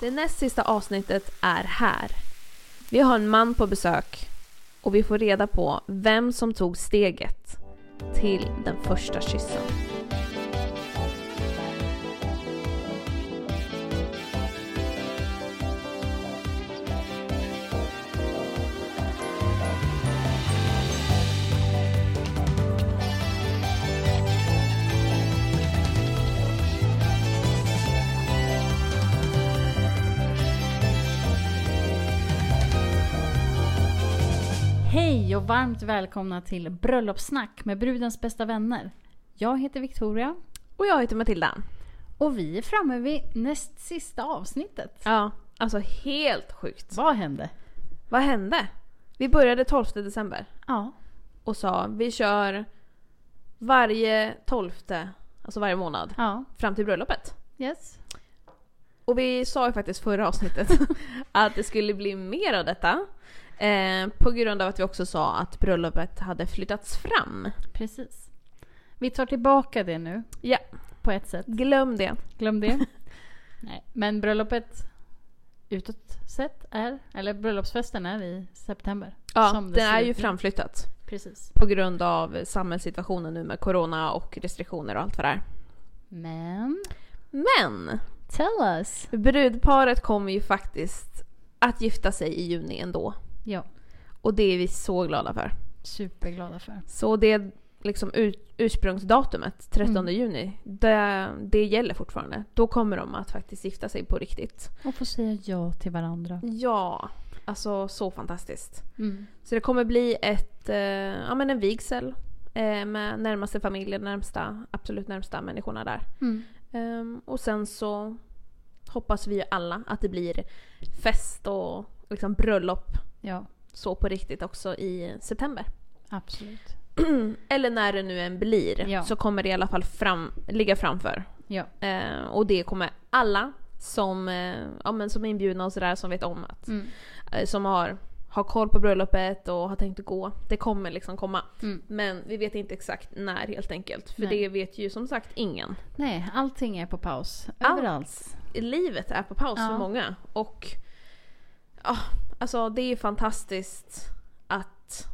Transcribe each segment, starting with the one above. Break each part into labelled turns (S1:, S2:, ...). S1: Det näst sista avsnittet är här. Vi har en man på besök och vi får reda på vem som tog steget till den första kyssen.
S2: Hej och varmt välkomna till Bröllopssnack med brudens bästa vänner. Jag heter Victoria
S1: Och jag heter Matilda.
S2: och vi är framme vid näst sista avsnittet.
S1: Ja, alltså helt sjukt.
S2: Vad hände?
S1: Vad hände? Vi började 12 december
S2: Ja,
S1: och sa vi kör varje 12, alltså varje månad,
S2: ja,
S1: fram till bröllopet.
S2: yes.
S1: Och vi sa ju faktiskt förra avsnittet att det skulle bli mer av detta. Eh, på grund av att vi också sa att bröllopet hade flyttats fram.
S2: Precis. Vi tar tillbaka det nu.
S1: Ja.
S2: På ett sätt.
S1: Glöm det.
S2: Glöm det. Nej, men bröllopet utåt sett är, eller bröllopsfesten är i september.
S1: Ja,
S2: Som det
S1: det
S2: ser
S1: är ju
S2: ut nu.
S1: framflyttat.
S2: Precis.
S1: På grund av samhällssituationen nu med corona och restriktioner och allt vad det är.
S2: Men,
S1: Men!
S2: tell us.
S1: Brudparet kommer ju faktiskt att gifta sig i juni ändå.
S2: Ja,
S1: Och det är vi så glada för.
S2: superglada för.
S1: Så det liksom ut, ursprungsdatumet, 13
S2: Mm.
S1: juni, det, det gäller fortfarande. Då kommer de att faktiskt gifta sig på riktigt.
S2: Och få säga ja till varandra.
S1: Ja, alltså så fantastiskt.
S2: Mm.
S1: Så det kommer bli ett, eh, ja, men en vigsel eh, med närmaste familjen, närmsta, absolut närmsta människorna där.
S2: Mm.
S1: Ehm, och sen så hoppas vi ju alla att det blir fest och liksom bröllop
S2: Ja,
S1: så på riktigt också i september.
S2: absolut.
S1: Eller när det nu än blir
S2: Ja.
S1: så kommer det i alla fall fram, ligga framför.
S2: Ja.
S1: Eh, och det kommer alla som, eh, ja, men som är inbjudna och sådär som vet om att,
S2: Mm.
S1: eh, som har, har koll på bröllopet och har tänkt att gå. Det kommer liksom komma.
S2: Mm.
S1: Men vi vet inte exakt när helt enkelt. För
S2: Nej.
S1: det vet ju som sagt ingen.
S2: Nej, allting är på paus.
S1: Allt.
S2: Överallt.
S1: Livet är på paus för
S2: Ja.
S1: många. Och ja, alltså det är fantastiskt att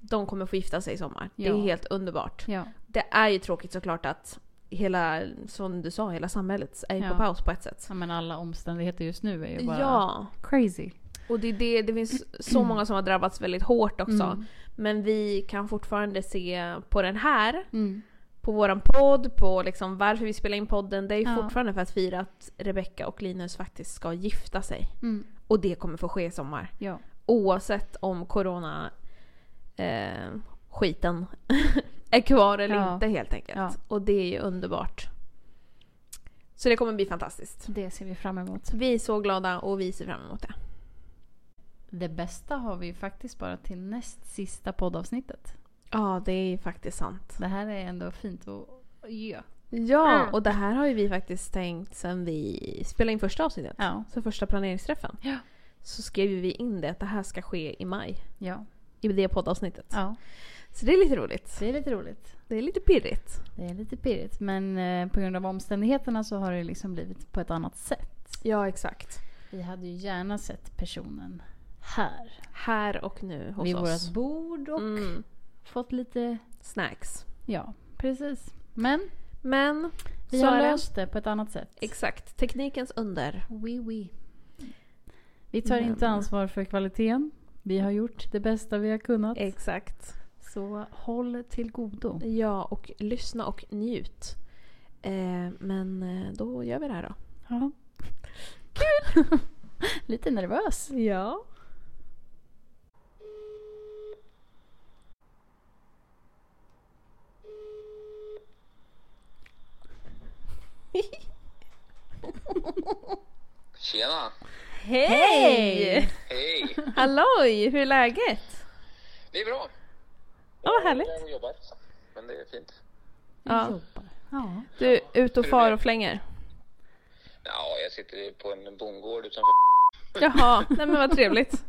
S1: de kommer få gifta sig i sommar. Det
S2: Ja.
S1: är helt underbart.
S2: Ja.
S1: Det är ju tråkigt såklart att hela, som du sa, hela samhället är ju
S2: Ja.
S1: på paus på ett sätt.
S2: ja, men alla omständigheter just nu är ju bara
S1: Ja,
S2: crazy.
S1: och det, är det, det finns så många som har drabbats väldigt hårt också.
S2: Mm.
S1: Men vi kan fortfarande se på den här,
S2: Mm.
S1: på våran podd, på liksom varför vi spelar in podden. Det är ju
S2: Ja.
S1: fortfarande för att fira att Rebecca och Linus faktiskt ska gifta sig.
S2: Mm.
S1: Och det kommer få ske i sommar.
S2: Ja.
S1: Oavsett om corona eh, skiten är kvar eller
S2: Ja.
S1: inte helt enkelt.
S2: Ja.
S1: Och det är ju underbart. Så det kommer bli fantastiskt.
S2: Det ser vi fram emot.
S1: Vi är så glada och vi ser fram emot det.
S2: Det bästa har vi ju faktiskt bara till näst sista poddavsnittet.
S1: Ja, det är ju faktiskt sant.
S2: Det här är ändå fint och... Ja.
S1: Ja,
S2: Mm.
S1: och det här har ju vi faktiskt tänkt sen vi spelade in första avsnittet.
S2: Ja.
S1: Så första planeringsträffen.
S2: Ja.
S1: Så skrev ju vi in det att det här ska ske i maj.
S2: Ja.
S1: I det poddavsnittet.
S2: ja.
S1: Så det är lite roligt.
S2: Det är lite roligt.
S1: Det är lite pirrigt.
S2: Det är lite pirrigt. Men eh, på grund av omständigheterna så har det liksom blivit på ett annat sätt.
S1: Ja, exakt.
S2: Vi hade ju gärna sett personen här.
S1: Här och nu hos
S2: vid
S1: oss.
S2: vårt bord och
S1: Mm.
S2: fått lite...
S1: Snacks.
S2: Ja, precis. Men
S1: Men
S2: vi
S1: så
S2: har
S1: är det.
S2: löst det på ett annat sätt.
S1: Exakt. Teknikens under.
S2: Oui, oui. Vi tar
S1: Men-
S2: inte ansvar för kvaliteten. Vi har gjort det bästa vi har kunnat.
S1: Exakt.
S2: Så håll till godo.
S1: Ja, och lyssna och njut. Eh, men eh, då gör vi det här då.
S2: Ja. Kul! Lite nervös.
S1: Ja.
S3: Tjena!
S1: Hej!
S3: Hej!
S1: Halloj! Hur är läget?
S3: Det är bra.
S1: Ja, vad härligt.
S3: Jag jobbar, men det är fint.
S2: Vi
S1: Ja.
S2: jobbar. Ja.
S1: Du är ute och far och flänger?
S3: Ja, jag sitter på en bondgård utanför.
S1: Jaha, nej men vad trevligt.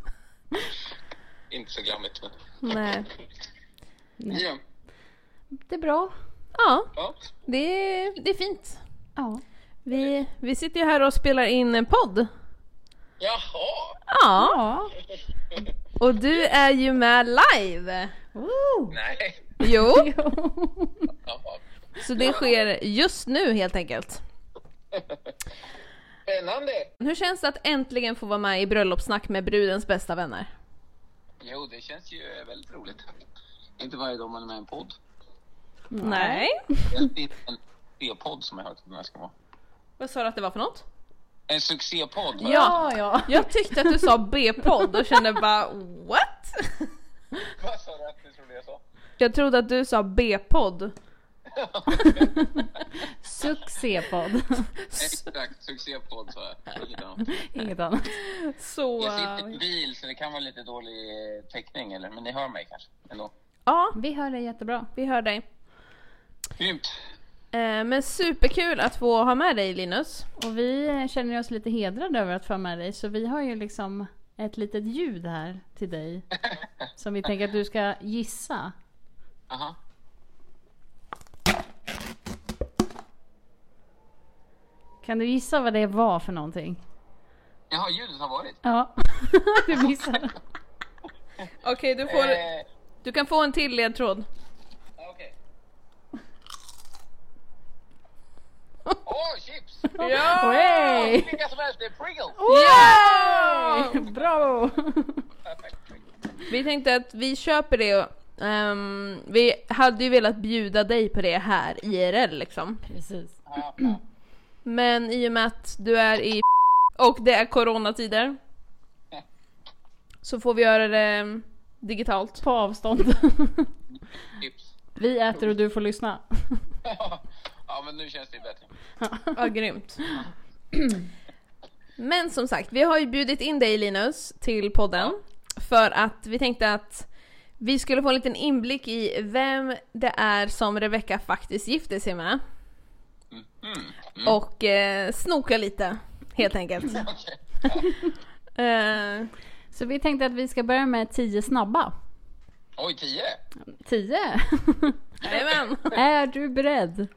S3: Inte så glammigt, men...
S1: Nej.
S3: Ja.
S2: Det är bra.
S1: Ja,
S3: ja.
S1: det är, det är fint.
S2: Ja.
S1: Vi, vi sitter ju här och spelar in en podd.
S3: Jaha!
S1: Ja.
S2: Ja.
S1: Och du är ju med live!
S2: Oh.
S3: Nej.
S1: Jo,
S3: Jaha.
S1: så det sker just nu helt enkelt.
S3: Spännande!
S1: Hur känns det att äntligen få vara med i bröllopssnack med brudens bästa vänner?
S3: Jo, det känns ju väldigt roligt. Inte varje dag man är med i en podd.
S1: Nej.
S3: Det är en succépodd som jag hört att den här ska vara.
S1: Vad sa du att det var för något?
S3: En succépodd? va?
S2: Ja, ja.
S1: Jag tyckte att du sa B-podd och kände bara what?
S3: Vad sa du att du trodde jag sa?
S1: Jag trodde att du sa B-podd.
S2: Succépodd.
S3: Exakt, succépodd sa jag. Likadant.
S2: Inget annat.
S1: Så...
S3: Jag sitter i en bil så det kan vara lite dålig eh, täckning eller, men ni hör mig kanske ändå.
S1: Ja,
S2: Vi hör dig jättebra.
S1: vi hör dig.
S3: Grymt!
S1: Eh, Men superkul att få ha med dig Linus.
S2: Och vi eh, känner oss lite hedrade över att få ha med dig, så vi har ju liksom ett litet ljud här till dig. Som vi tänker att du ska gissa.
S3: Aha.
S2: Kan du gissa vad det var för någonting?
S3: Jaha, ljudet har varit.
S2: Ja, du missade.
S1: Okej, du,
S3: Eh,
S1: du kan få en till ledtråd.
S3: ja, Okej. Åh, chips!
S1: Ja!
S2: Hey!
S3: Vilka som helst, det är Pringles!
S1: Oh. Ja!
S2: Bra!
S3: Perfekt.
S1: Vi tänkte att vi köper det och ehm, vi hade ju velat bjuda dig på det här IRL liksom.
S2: Precis.
S3: Ja, ja.
S1: Men i och med att du är i och det är coronatider så får vi göra det digitalt.
S2: På avstånd.
S3: Chips.
S2: Vi äter och du får lyssna.
S3: ja, men nu känns det ju bättre.
S1: Ja, grymt. Men som sagt, vi har ju bjudit in dig Linus till podden för att vi tänkte att vi skulle få en liten inblick i vem det är som Rebecca faktiskt gifte sig med
S3: Mm.
S1: och eh, snoka lite helt enkelt.
S3: Okej.
S1: Eh,
S2: Så vi tänkte att vi ska börja med tio snabba.
S3: Oj, tio!
S2: Tio?
S1: Jajamän!
S2: Är du beredd?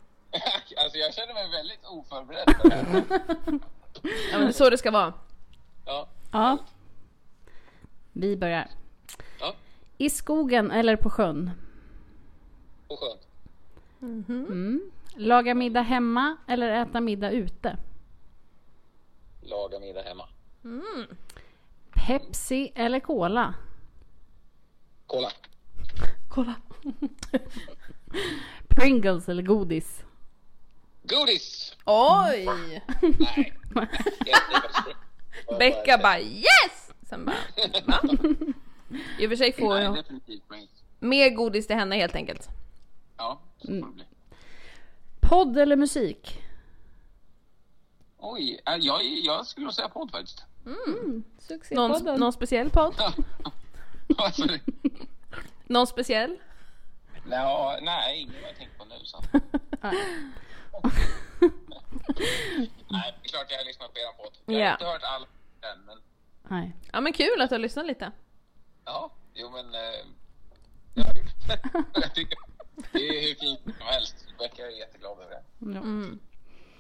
S3: alltså, jag känner mig väldigt oförberedd på det här.
S1: Ja, men det är så det ska vara.
S3: Ja.
S2: Ja. Vi börjar.
S3: ja.
S2: I skogen eller på sjön?
S3: Och skönt.
S1: Mhm.
S2: Mm. Laga middag hemma eller äta middag ute?
S3: Laga middag hemma.
S2: Pepsi eller Cola?
S3: Kolla.
S1: Kolla.
S2: Pringles eller godis?
S3: Godis!
S1: Oj!
S3: Nej. Jag driver.
S1: Becka bara yes! Sen bara va? I och för sig får
S3: Nej,
S1: jag
S3: definitivt Pringles.
S1: mer godis till henne helt enkelt.
S3: Ja, så
S1: Mm.
S3: får det bli.
S2: Podd eller musik?
S3: Oj, äh, jag, jag skulle nog säga podd faktiskt.
S1: Någon, någon speciell podd?
S3: alltså, det-
S1: Någon speciell?
S3: Nå, nej, ingen jag tänkt på nu. Så. nej, det är klart jag har lyssnat på er podd. Jag har
S1: Ja.
S3: inte hört all än, men
S2: Nej.
S1: Ja men kul att du har lyssnat lite.
S3: ja, jo men. Eh, jag, jag tycker det är hur fint som helst. Rebecka är jätteglad över det.
S2: Ja.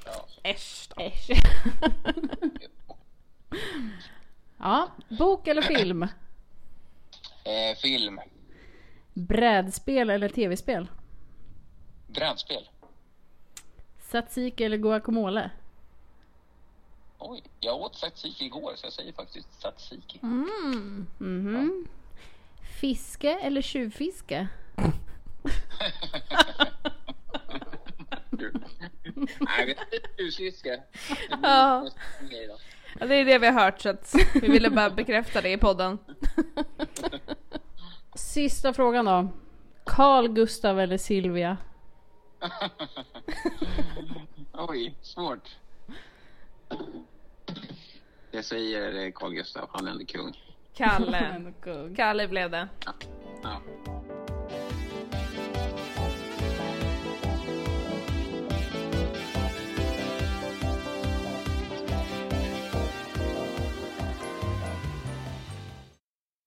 S3: Ja.
S1: Äsch då.
S2: ja. Bok eller film?
S3: Eh, film,
S2: Brädspel eller tv-spel?
S3: brädspel.
S2: Tzatziki eller guacamole?
S3: Oj, jag åt tzatziki igår så jag säger faktiskt tzatziki.
S2: Mhm. Fiske eller tjuvfiske?
S3: Nej, vi är tjuvfiske.
S1: Ja. Ja, det är det vi har hört så att vi ville bara bekräfta det i podden.
S2: Sista frågan då. Carl, Gustav eller Silvia?
S3: Oj, svårt. Jag säger eh, Carl Gustaf, han är ändå kung.
S1: Kalle. Kalle blev det.
S3: Ja.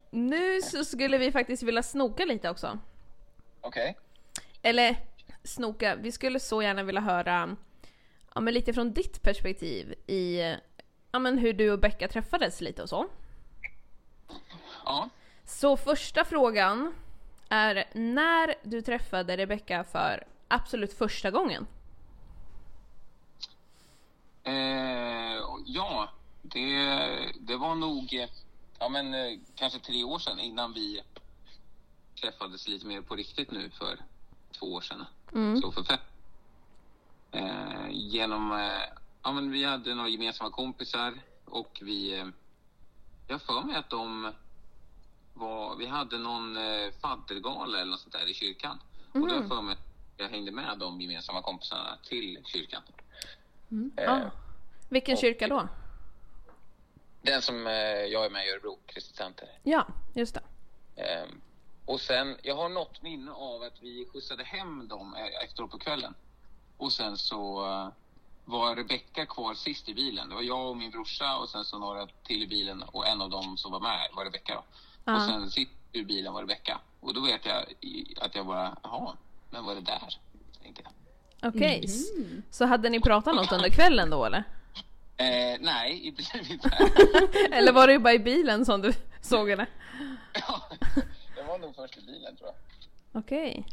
S1: Nu så skulle vi faktiskt vilja snoka lite också.
S3: Okej.
S1: Eller snoka, vi skulle så gärna vilja höra ja, men lite från ditt perspektiv i ja, men hur du och Becka träffades lite och så.
S3: Ja.
S1: Så första frågan är när du träffade Rebecca för absolut första gången?
S3: Eh, ja, det, det var nog eh, ja, men, eh, kanske tre år sedan innan vi träffades lite mer på riktigt nu för två år sedan. Så för fem. Eh, genom, eh, ja, men vi hade några gemensamma kompisar och vi, eh, jag har för mig att de var, vi hade någon eh, faddergala eller något sånt där i kyrkan. Och då har jag för mig att jag hängde med de gemensamma kompisarna till kyrkan. Eh,
S1: Ah. Vilken
S3: och-
S1: kyrka då?
S3: den som eh, jag är med i Örebro, Kristet Center.
S1: Ja, just det.
S3: Ehm, och sen, jag har något minne av att vi skjutsade hem dem eh, efteråt på kvällen. Och sen så eh, var Rebecka kvar sist i bilen. Det var jag och min brorsa och sen så några till i bilen och en av dem som var med var Rebecka då.
S1: Ja.
S3: Och sen sist i bilen var Rebecka. Och då vet jag i- att jag bara, jaha, men var det där? Tänkte jag. Mhm.
S1: Okej. Så hade ni pratat något under kvällen då eller?
S3: Eh, nej, det blev inte där.
S1: Eller var det bara i bilen som du såg henne?
S3: Ja, det var nog först i bilen tror jag.
S1: Okej.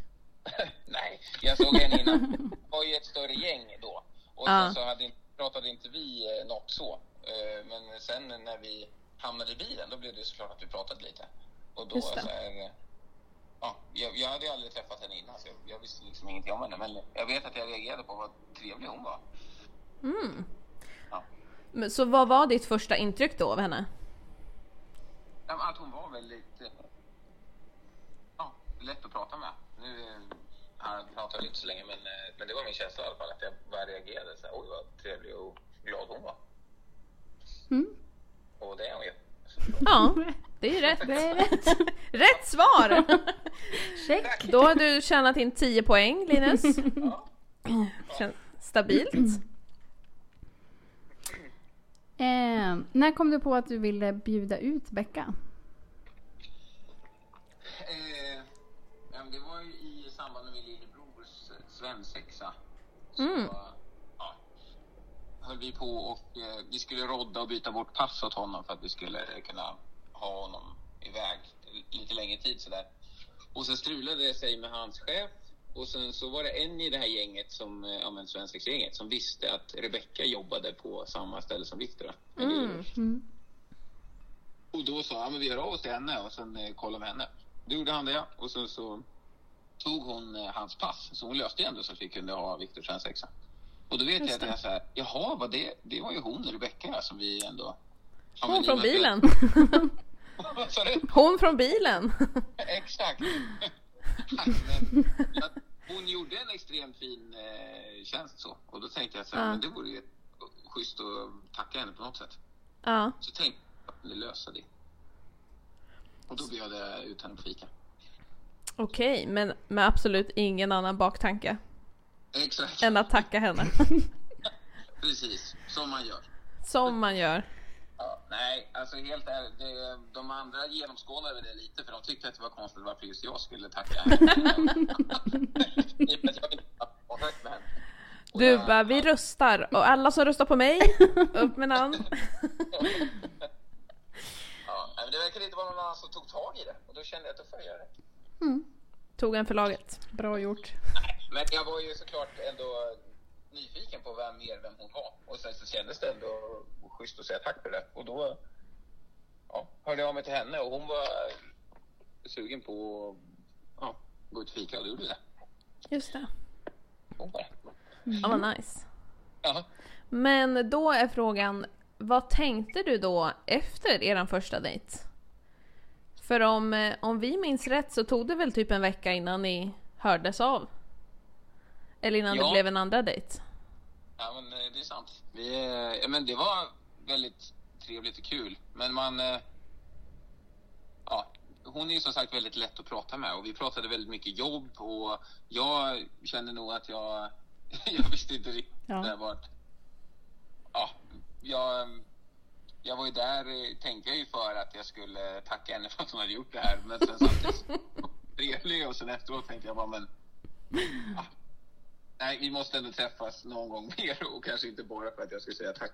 S3: Nej, jag såg en innan. Det var ju ett större gäng då. Och
S1: Ja.
S3: sen så hade, pratade inte vi eh, något så. Eh, Men sen när vi hamnade i bilen, då blev det ju såklart att vi pratade lite. Och då
S1: Just det.
S3: så här, eh, ja, jag, jag hade ju aldrig träffat henne innan, så jag, jag visste liksom ingenting om henne. Men jag vet att jag reagerade på vad trevlig hon var. Ja.
S1: Men Så vad var ditt första intryck då av henne?
S3: Ja, men Att hon var väldigt eh, ja, lätt att prata med. Nu eh, han pratar vi inte så länge, men, eh, men det var min känsla i alla fall. Att jag bara reagerade så här, oj vad trevlig och glad hon var.
S2: Mm.
S3: Och det är hon ju.
S1: Ja, det är ju rätt.
S2: Det är rätt.
S1: Rätt svar!
S2: Check.
S1: Då har du tjänat in 10 poäng Linus.
S3: Ja.
S1: Känns stabilt.
S2: Eh, när kom du på att du ville bjuda ut Becka?
S3: Eh, ja, men det var ju i samband med min lillebrors eh, svensexa. Så
S1: Mm.
S3: eh, ja, höll vi på och eh, vi skulle rodda och byta bort pass åt honom för att vi skulle kunna ha honom iväg lite längre tid sådär. Och sen strulade det sig med hans chef och sen så var det en i det här gänget som, eh, ja men svensexgänget, som visste att Rebecka jobbade på samma ställe som Viktor. min lillebror.
S2: Mm.
S3: Och då sa han, men vi hör av oss till henne och sen eh, kollar med henne. Då gjorde han det och sen så tog hon eh, hans pass. Så hon löste ändå så att vi kunde ha Viktor svensexa. Och då vet
S1: Just
S3: jag att
S1: det.
S3: jag så här, jaha, vad det, det var ju hon, Rebecka, som vi ändå... Ja, men
S1: Hon
S3: i
S1: från
S3: och med att-
S1: bilen.
S3: Vad sa du?
S1: Hon från bilen.
S3: Exakt. men, att hon gjorde en extremt fin eh, tjänst så. Och då tänkte jag så här,
S1: Ja.
S3: men det vore ju schysst att tacka henne på något sätt.
S1: Ja.
S3: Så tänkte jag att lösa det. Och då bjöd jag ut henne på fika.
S1: Okej, men med absolut ingen annan baktanke
S3: Exakt,
S1: än att tacka henne.
S3: precis. Som man gör.
S1: Som man gör.
S3: Ja, nej, alltså helt ärligt. Det, de andra genomskådade det lite för de tyckte att det var konstigt varför just jag skulle tacka. henne. I och med att jag inte har kontakt med henne. Och
S1: Du
S3: jag-
S1: bara, vi röstar och alla som röstar på mig, upp med namn.
S3: Ja, nej, men det verkar inte vara någon annan som tog tag i det och då kände jag att då får jag göra det.
S1: Tog en förlaget.
S2: Bra gjort.
S3: Men jag var ju såklart ändå nyfiken på vem mer vem hon var. Och sen så kändes det ändå schysst att säga tack för det. Och då ja, hörde jag av mig till henne och hon var sugen på att ja, gå ut och fika och då gjorde vi det.
S1: Just det.
S3: Hon bara, Mm.
S1: Ja, vad nice.
S3: ja.
S1: Men då är frågan, vad tänkte du då efter eran första dejt? För om, eh, om vi minns rätt så tog det väl typ en vecka innan ni hördes av? Eller innan det
S3: Ja.
S1: blev en andra dejt?
S3: Ja, men eh, det är sant. Vi, eh, ja, men det var väldigt trevligt och kul. Men man... eh, Ja, hon är ju som sagt väldigt lätt att prata med och vi pratade väldigt mycket jobb och jag kände nog att jag... Jag visste inte riktigt
S2: Ja.
S3: där vart... Ja, jag... Jag var ju där, eh, tänkte jag ju för att jag skulle tacka henne för att hon hade gjort det här. Men sen samtidigt så var hon trevlig och sen efteråt tänkte jag bara men... ah, Nej, vi måste ändå träffas någon gång mer och kanske inte bara för att jag skulle säga tack.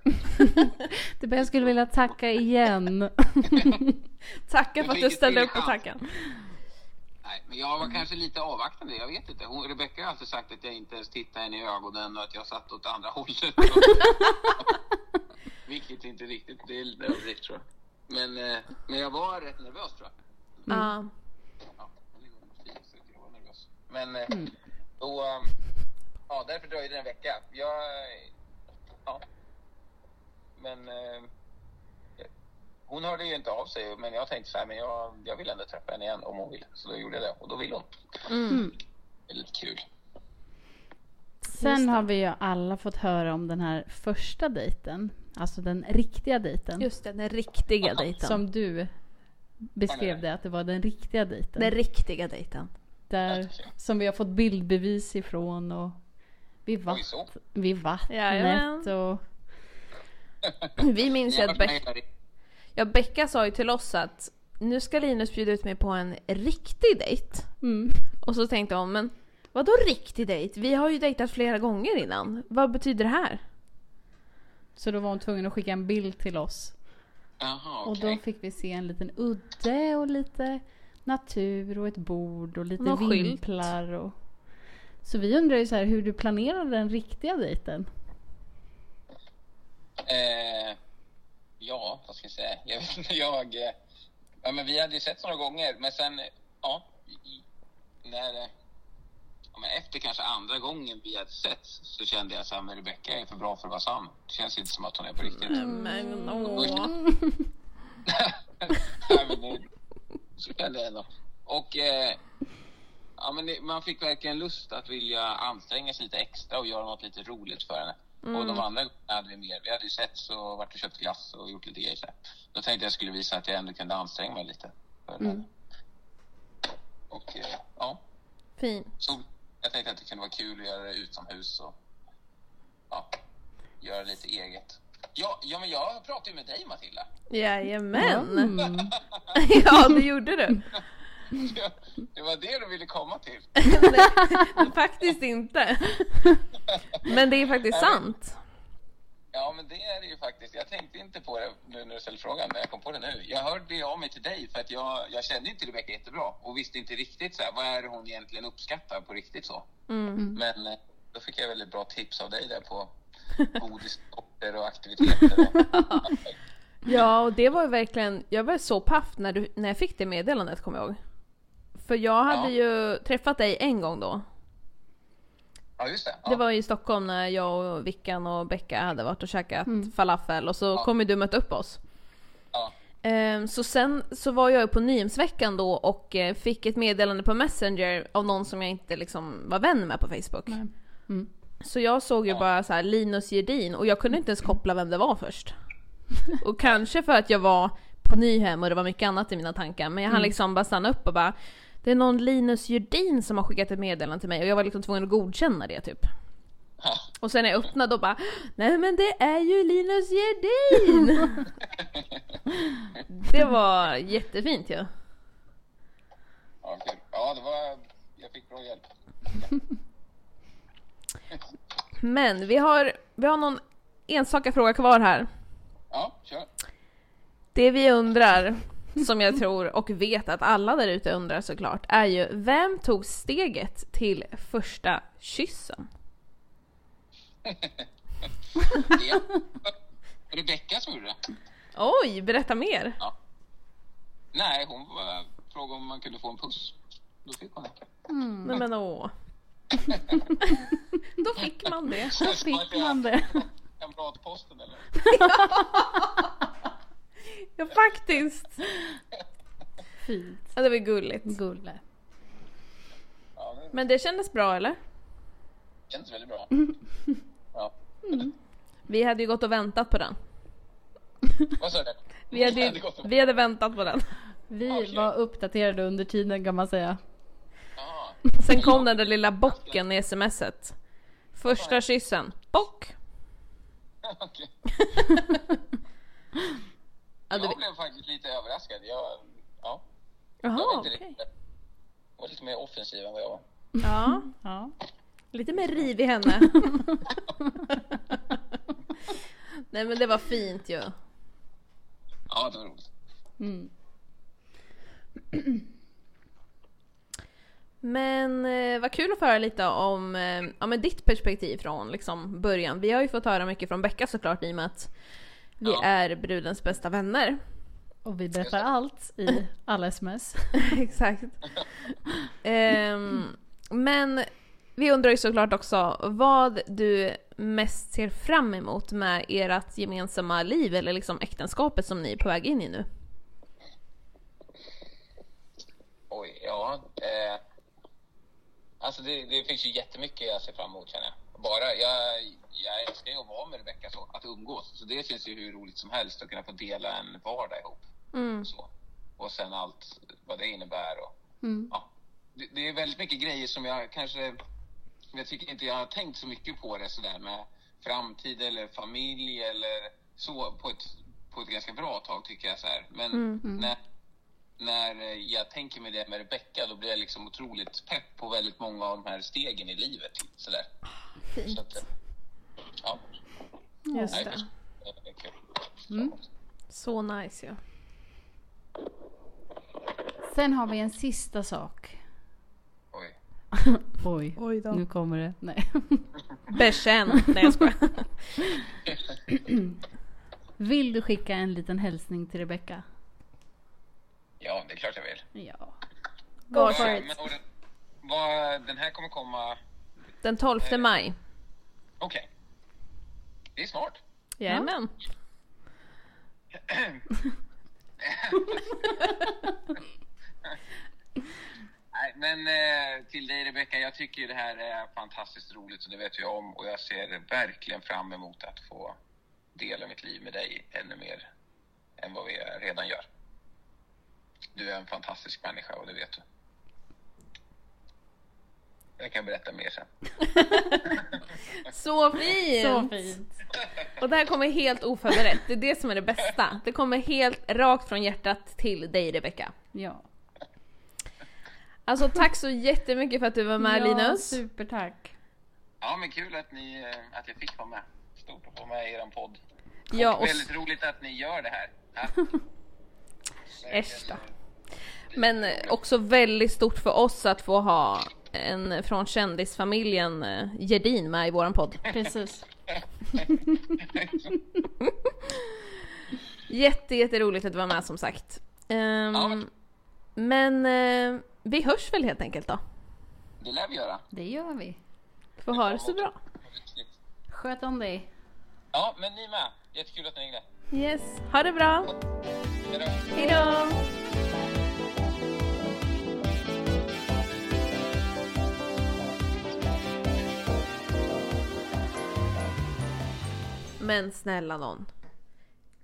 S2: Det bästa jag skulle vilja tacka igen.
S1: Tacka för att du
S3: Vilket
S1: ställde upp
S3: trevligt
S1: på
S3: chans.
S1: tackan.
S3: Nej, men jag var kanske lite avvaktande, jag vet inte. Hon, Rebecca har alltid sagt att jag inte ens tittar henne i ögonen och att jag satt åt andra hållet. Vilket inte riktigt, det är lite överdrift tror jag. Men, eh, men jag var rätt nervös tror jag.
S1: Ja.
S3: Ja, det går nog fint, så jag var nervös. Men eh, då, eh, ja därför dröjde det en vecka. Jag, eh, ja. Men eh, hon hörde ju inte av sig men jag tänkte så här, men jag, jag vill ändå träffa henne igen om hon vill. Så då gjorde jag det och då vill hon.
S1: Mm.
S3: Det är lite kul.
S1: Just
S2: Sen
S1: det.
S2: har vi ju alla fått höra om den här första dejten. Alltså den riktiga dejten.
S1: Just det, den riktiga dejten.
S2: Som du beskrev det, att det var den riktiga dejten.
S1: Den riktiga dejten.
S2: där, som vi har fått bildbevis ifrån och vid,
S3: Oj, så.
S2: vatt, vid vattnet.
S1: Jajamän.
S2: Och,
S1: Vi minns ju
S3: Jag har
S1: att
S3: varit med
S1: Beck,
S3: här i-
S1: ja, Becka sa ju till oss att nu ska Linus bjuda ut mig på en riktig dejt.
S2: mm.
S1: Och så tänkte hon, men vadå riktig dejt? Vi har ju dejtat flera gånger innan. Vad betyder det här?
S2: Så då var hon tvungen att skicka en bild till oss.
S3: Jaha,
S2: Och
S3: okej.
S2: då fick vi se en liten udde och lite natur och ett bord och lite
S1: Någon skylt.
S2: vimplar. Och... Så vi undrar ju så här hur du planerade den riktiga dejten.
S3: Eh, ja, vad ska jag säga? Jag, vet inte, jag, eh, ja, men vi hade ju sett några gånger, men sen... eh, Ja, i- i- när, eh, ja, men efter kanske andra gången vi hade sett så kände jag så här, men Rebecka är för bra för att vara sann. Det känns inte som att hon är på riktigt.
S1: Men
S3: åh. Nej, men det- så kände jag ändå. Och eh, ja, men det, man fick verkligen lust att vilja anstränga sig lite extra och göra något lite roligt för henne. Och de andra gångerna hade vi mer. Vi hade ju sett så varit och köpt glass och gjort lite grejer. så här. Då tänkte jag skulle visa att jag ändå kunde anstränga mig lite. För henne. Och eh, ja,
S1: Fin.
S3: så jag tänkte att det kunde vara kul att göra det utomhus och ja, göra lite eget. Ja, ja, men jag pratade ju med dig Matilda.
S1: Jajamän!
S2: Mm.
S1: Ja, det gjorde du.
S3: Det var det du ville komma till.
S1: Nej, faktiskt inte. Men det är faktiskt sant.
S3: Ja, men det är det ju faktiskt. Jag tänkte inte på det nu när du ställde frågan, men jag kom på det nu. Jag hörde av mig till dig för att jag, jag kände ju inte Rebecka jättebra och visste inte riktigt så här, vad är det hon egentligen uppskattar på riktigt så.
S1: Mm.
S3: Men eh, då fick jag väldigt bra tips av dig där på godissorter och aktiviteter.
S1: Ja, och det var ju verkligen, jag var så paff när, du, när jag fick det meddelandet kommer jag ihåg. För jag hade ju träffat dig en gång då.
S3: Ja, just det. Ja.
S1: Det var i Stockholm när jag och Vickan och Becka hade varit och käkat falafel och så kom ju du och mötte upp oss.
S3: Mm. Ja.
S1: Ehm, Så sen så var jag ju på Nyhemsveckan då och eh, fick ett meddelande på Messenger av någon som jag inte liksom var vän med på Facebook.
S2: Mm.
S1: Så jag såg ju
S3: Ja.
S1: bara så här Linus Gedin och jag kunde inte ens koppla vem det var först. Och kanske för att jag var på Nyhem och det var mycket annat i mina tankar men jag
S3: Mm.
S1: hann liksom bara stanna upp och bara Det är någon Linus Gedin som har skickat ett meddelande till mig och jag var liksom tvungen att godkänna det typ.
S3: Ja.
S1: Och sen när jag öppnade och bara Nej men det är ju Linus Gedin! det var jättefint ju. Ja.
S3: Ja, kul. ja, det var... Jag fick bra hjälp.
S1: Men vi har, vi har någon enstaka fråga kvar här.
S3: Ja, kör.
S1: Det vi undrar, som jag tror och vet att alla där ute undrar såklart, är ju vem tog steget till första kyssen?
S3: Det var Rebecka som gjorde det.
S1: Oj, berätta mer!
S3: Nej, hon var, frågade om man kunde få en puss. Då fick hon det.
S1: Nej men åh. Då fick man det.
S2: Då fick man det.
S3: Kamratposten eller?
S1: Ja faktiskt!
S2: Fint.
S1: Ja, det var gulligt.
S2: Gulle.
S3: Ja, det
S1: Men det kändes bra eller?
S3: känns väldigt bra. Ja.
S1: Vi hade ju gått och väntat på den.
S3: Vad sa du?
S1: Vi hade,
S3: Ja, det
S1: ju,
S3: går så bra.
S1: vi hade väntat på den.
S2: Vi
S3: Okej.
S2: var uppdaterade under tiden kan man säga.
S3: Ja.
S1: Sen kom den där lilla bocken i smset. Första kyssen. Bock!
S3: Okej.
S1: Ja, det-
S3: Jag blev faktiskt lite överraskad. Jag, ja, jag
S1: Jaha,
S3: vet inte
S1: Ah, okej.
S3: riktigt. Jag var lite mer offensiv än vad jag var.
S1: Ja.
S2: Ja.
S1: Lite mer riv i henne. Nej men det var fint ju.
S3: Ja, det var roligt.
S2: Mm.
S1: Men eh, vad kul att få höra lite om eh, ja, men ditt perspektiv från liksom, början. Vi har ju fått höra mycket från Becka såklart i och med att vi
S3: Ja.
S1: är brudens bästa vänner.
S2: Och vi berättar allt i alla sms.
S1: Exakt. Ehm, men vi undrar ju såklart också vad du mest ser fram emot med ert gemensamma liv eller liksom äktenskapet som ni är på väg in i nu.
S3: Oj, ja. Eh, alltså det, det finns ju jättemycket jag ser fram emot känner jag. Bara, jag, jag älskar ju att vara med Rebecka så, att umgås. Så det känns ju hur roligt som helst att kunna få dela en vardag ihop.
S1: Mm.
S3: Och, så. och sen allt vad det innebär. Och,
S2: Mm.
S3: ja. det, det är väldigt mycket grejer som jag kanske... som Jag tycker inte jag har tänkt så mycket på det sådär med framtid eller familj eller så på ett, på ett ganska bra tag tycker jag. Så här. Men
S1: Mm,
S3: När, när eh, jag tänker mig det med Rebecca då blir jag liksom otroligt pepp på väldigt många av de här stegen i livet. typ, Sådär. Så att, eh, ja,
S1: Just
S3: nej,
S1: det.
S3: det är kul.
S2: Mm.
S1: Så nice ju.
S2: Sen har vi en sista sak.
S3: Oj.
S2: Oj,
S1: Oj
S2: nu kommer det. Nej.
S1: Bekänn! Nej jag skojar.
S2: Vill du skicka en liten hälsning till Rebecca?
S3: Ja, det är klart jag vill.
S2: Ja.
S1: Go
S3: Eh,
S1: for
S3: men,
S1: it.
S3: och den, vad, den här kommer komma...
S1: Den 12 maj.
S3: Okej. Det är snart.
S1: Jajamän.
S3: Nej, men eh, till dig Rebecca, jag tycker ju det här är fantastiskt roligt och det vet jag om och jag ser verkligen fram emot att få dela mitt liv med dig ännu mer än vad vi redan gör. Du är en fantastisk människa och det vet du. Jag kan berätta mer sen.
S1: Så fint!
S2: Så fint.
S1: Och det här kommer helt oförberett. Det är det som är det bästa. Det kommer helt rakt från hjärtat till dig Rebecka.
S2: Ja.
S1: Alltså tack så jättemycket för att du var med
S2: ja,
S1: Linus.
S2: Supertack.
S3: Ja, men kul att, ni, eh, att jag fick vara med. Stort att få med i er podd.
S1: Ja,
S3: och
S1: och s-
S3: väldigt roligt att ni gör det här. Ja.
S1: Äsch då. Men eh, också väldigt stort för oss att få ha en från kändisfamiljen eh, Gedin med i våran podd.
S2: Precis.
S1: Jätte, jätteroligt att du var med som sagt. Ehm,
S3: Ja.
S1: Men eh, vi hörs väl helt enkelt då.
S3: Det lär vi göra.
S2: Det gör vi.
S1: Får ha det så bra.
S2: Sköt om dig.
S3: Ja, men ni med. Jättekul att ni ringde.
S1: Yes, ha det bra.
S3: Hej då.
S1: Hejdå! Men snälla nån.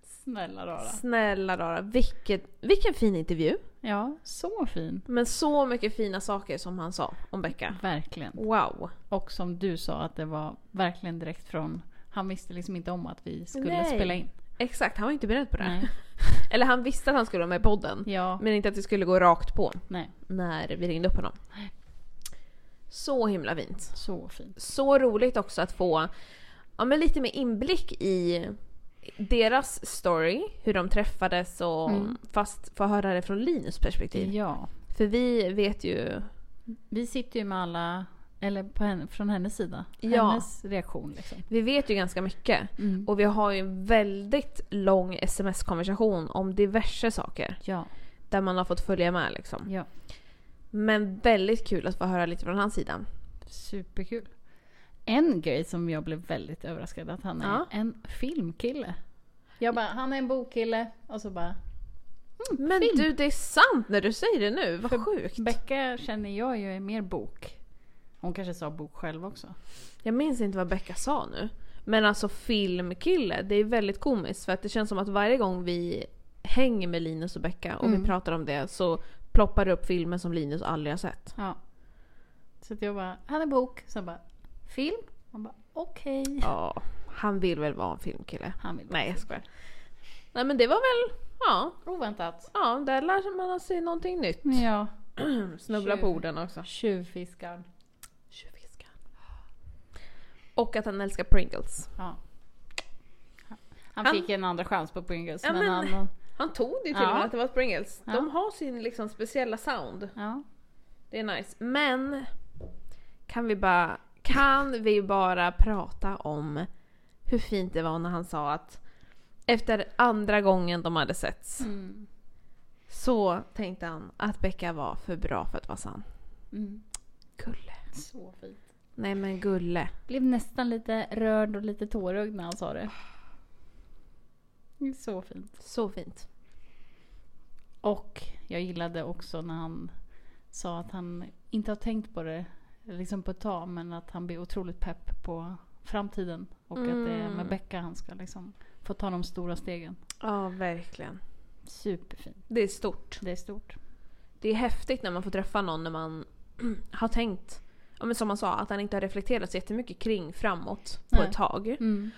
S2: Snälla rara.
S1: Snälla rara, vilket, vilken fin intervju.
S2: Ja, så fin.
S1: Men så mycket fina saker som han sa om Becka.
S2: Verkligen.
S1: Wow.
S2: Och som du sa att det var verkligen direkt från... Han visste liksom inte om att vi skulle
S1: Nej.
S2: spela in.
S1: Exakt, han var inte beredd på det.
S2: Nej.
S1: Eller han visste att han skulle vara med i podden.
S2: Ja.
S1: Men inte att det skulle gå rakt på
S2: Nej.
S1: när vi ringde upp honom. Så himla fint.
S2: Så fint.
S1: Så roligt också att få ja, men lite mer inblick i deras story, hur de träffades och
S2: Mm.
S1: fast få höra det från Linus perspektiv.
S2: Ja.
S1: För vi vet ju
S2: Vi sitter ju med alla... Eller på henne, från hennes sida.
S1: Ja.
S2: Hennes reaktion liksom.
S1: vi vet ju ganska mycket.
S2: Mm.
S1: Och vi har ju en väldigt lång sms-konversation om diverse saker.
S2: Ja.
S1: Där man har fått följa med liksom.
S2: Ja.
S1: Men väldigt kul att få höra lite från hans sida.
S2: Superkul. En grej som jag blev väldigt överraskad att han är
S1: Ja.
S2: en filmkille. Jag bara, han är en bokkille och så bara...
S1: Men
S2: Fint.
S1: du, det är sant när du säger det nu. Vad sjukt.
S2: Becka känner jag ju är mer bok. Hon kanske sa bok själv också.
S1: Jag minns inte vad Becka sa nu. Men alltså filmkille, det är väldigt komiskt för att det känns som att varje gång vi hänger med Linus och Becka och
S2: Mm.
S1: vi pratar om det så ploppar det upp filmer som Linus aldrig har sett.
S2: Ja. Så att jag bara, han är bok. Så jag bara, film? Han bara, okej.
S1: Ja, han vill väl vara en filmkille.
S2: Han vill
S1: Nej jag skojar. Nej men det var väl, ja,
S2: Oväntat.
S1: ja där lär man sig någonting nytt.
S2: Ja.
S1: Snubbla på
S2: Tjuv.
S1: orden också.
S2: Tjuvfiskaren.
S1: Tjuvfiskaren. Och att han älskar Pringles.
S2: Ja. Han,
S1: Han-
S2: fick en andra chans på Pringles.
S1: Ja,
S2: men
S1: men-
S2: han,
S1: Han tog det ju till
S2: Ja.
S1: och med att det var Pringles.
S2: Ja.
S1: De har sin liksom speciella sound.
S2: ja.
S1: Det är nice. Men kan vi bara, kan vi bara prata om hur fint det var när han sa att efter andra gången de hade setts
S2: Mm.
S1: så tänkte han att Becka var för bra för att vara sann.
S2: Mm.
S1: Gulle.
S2: Så fint.
S1: Nej men Gulle.
S2: Blev nästan lite rörd och lite tårögd när han sa det. Det är Så fint.
S1: Så fint.
S2: Och jag gillade också när han sa att han inte har tänkt på det liksom på ett tag men att han blir otroligt pepp på framtiden. Och att det är
S1: Mm.
S2: med Becka han ska liksom få ta de stora stegen.
S1: Ja, verkligen.
S2: Superfint.
S1: Det är stort.
S2: Det är stort.
S1: Det är häftigt när man får träffa någon när man har tänkt, ja, men som man sa, att han inte har reflekterat så jättemycket kring framåt på
S2: Nej.
S1: ett tag.
S2: Mm.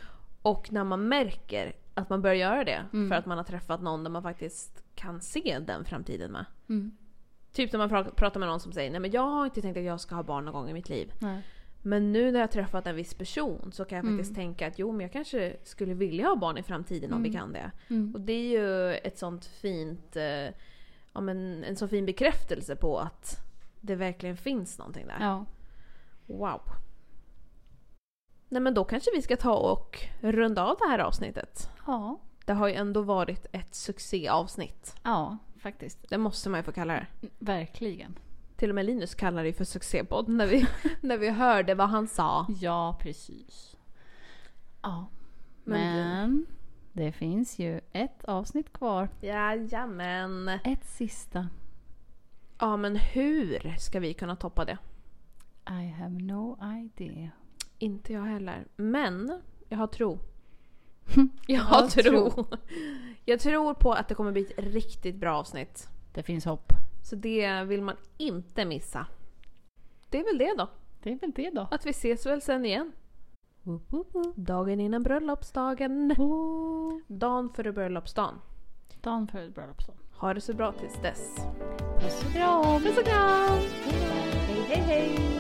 S1: Och när man märker att man börjar göra det
S2: Mm.
S1: för att man har träffat någon där man faktiskt kan se den framtiden med.
S2: Mm.
S1: Typ när man pra- pratar med någon som säger nej men jag har inte tänkt att jag ska ha barn någon gång i mitt liv.
S2: Nej.
S1: Men nu när jag har träffat en viss person så kan jag faktiskt
S2: Mm.
S1: tänka att jo men jag kanske skulle vilja ha barn i framtiden om vi
S2: Mm.
S1: kan det.
S2: Mm.
S1: Och det är ju ett sånt fint, eh, ja men en så fin bekräftelse på att det verkligen finns någonting där.
S2: Ja.
S1: Wow. Nej men då kanske vi ska ta och runda av det här avsnittet.
S2: Ja.
S1: Det har ju ändå varit ett succéavsnitt.
S2: Ja, faktiskt.
S1: Det måste man ju få kalla det.
S2: Verkligen.
S1: Till och med Linus kallar det ju för succépodd när vi, när vi hörde vad han sa.
S2: Ja, precis. Ja.
S1: Men du-
S2: Men det finns ju ett avsnitt kvar.
S1: Jajamän.
S2: Ett sista.
S1: Ja men hur ska vi kunna toppa det?
S2: I have no idea.
S1: Inte jag heller. Men jag har tro. Jag
S2: har
S1: har tro. Jag tror på att det kommer bli ett riktigt bra avsnitt.
S2: Det finns hopp.
S1: Så det vill man inte missa. Det är väl det då.
S2: Det är väl det då.
S1: Att vi ses väl sen igen.
S2: Woop, woop, woop.
S1: Dagen innan bröllopsdagen.
S2: Woop.
S1: Dagen före bröllopsdagen.
S2: Dan för ett bröllopsdag.
S1: Ha det så bra tills dess.
S2: Puss och kram!
S1: Puss och kram! Hej hej hej!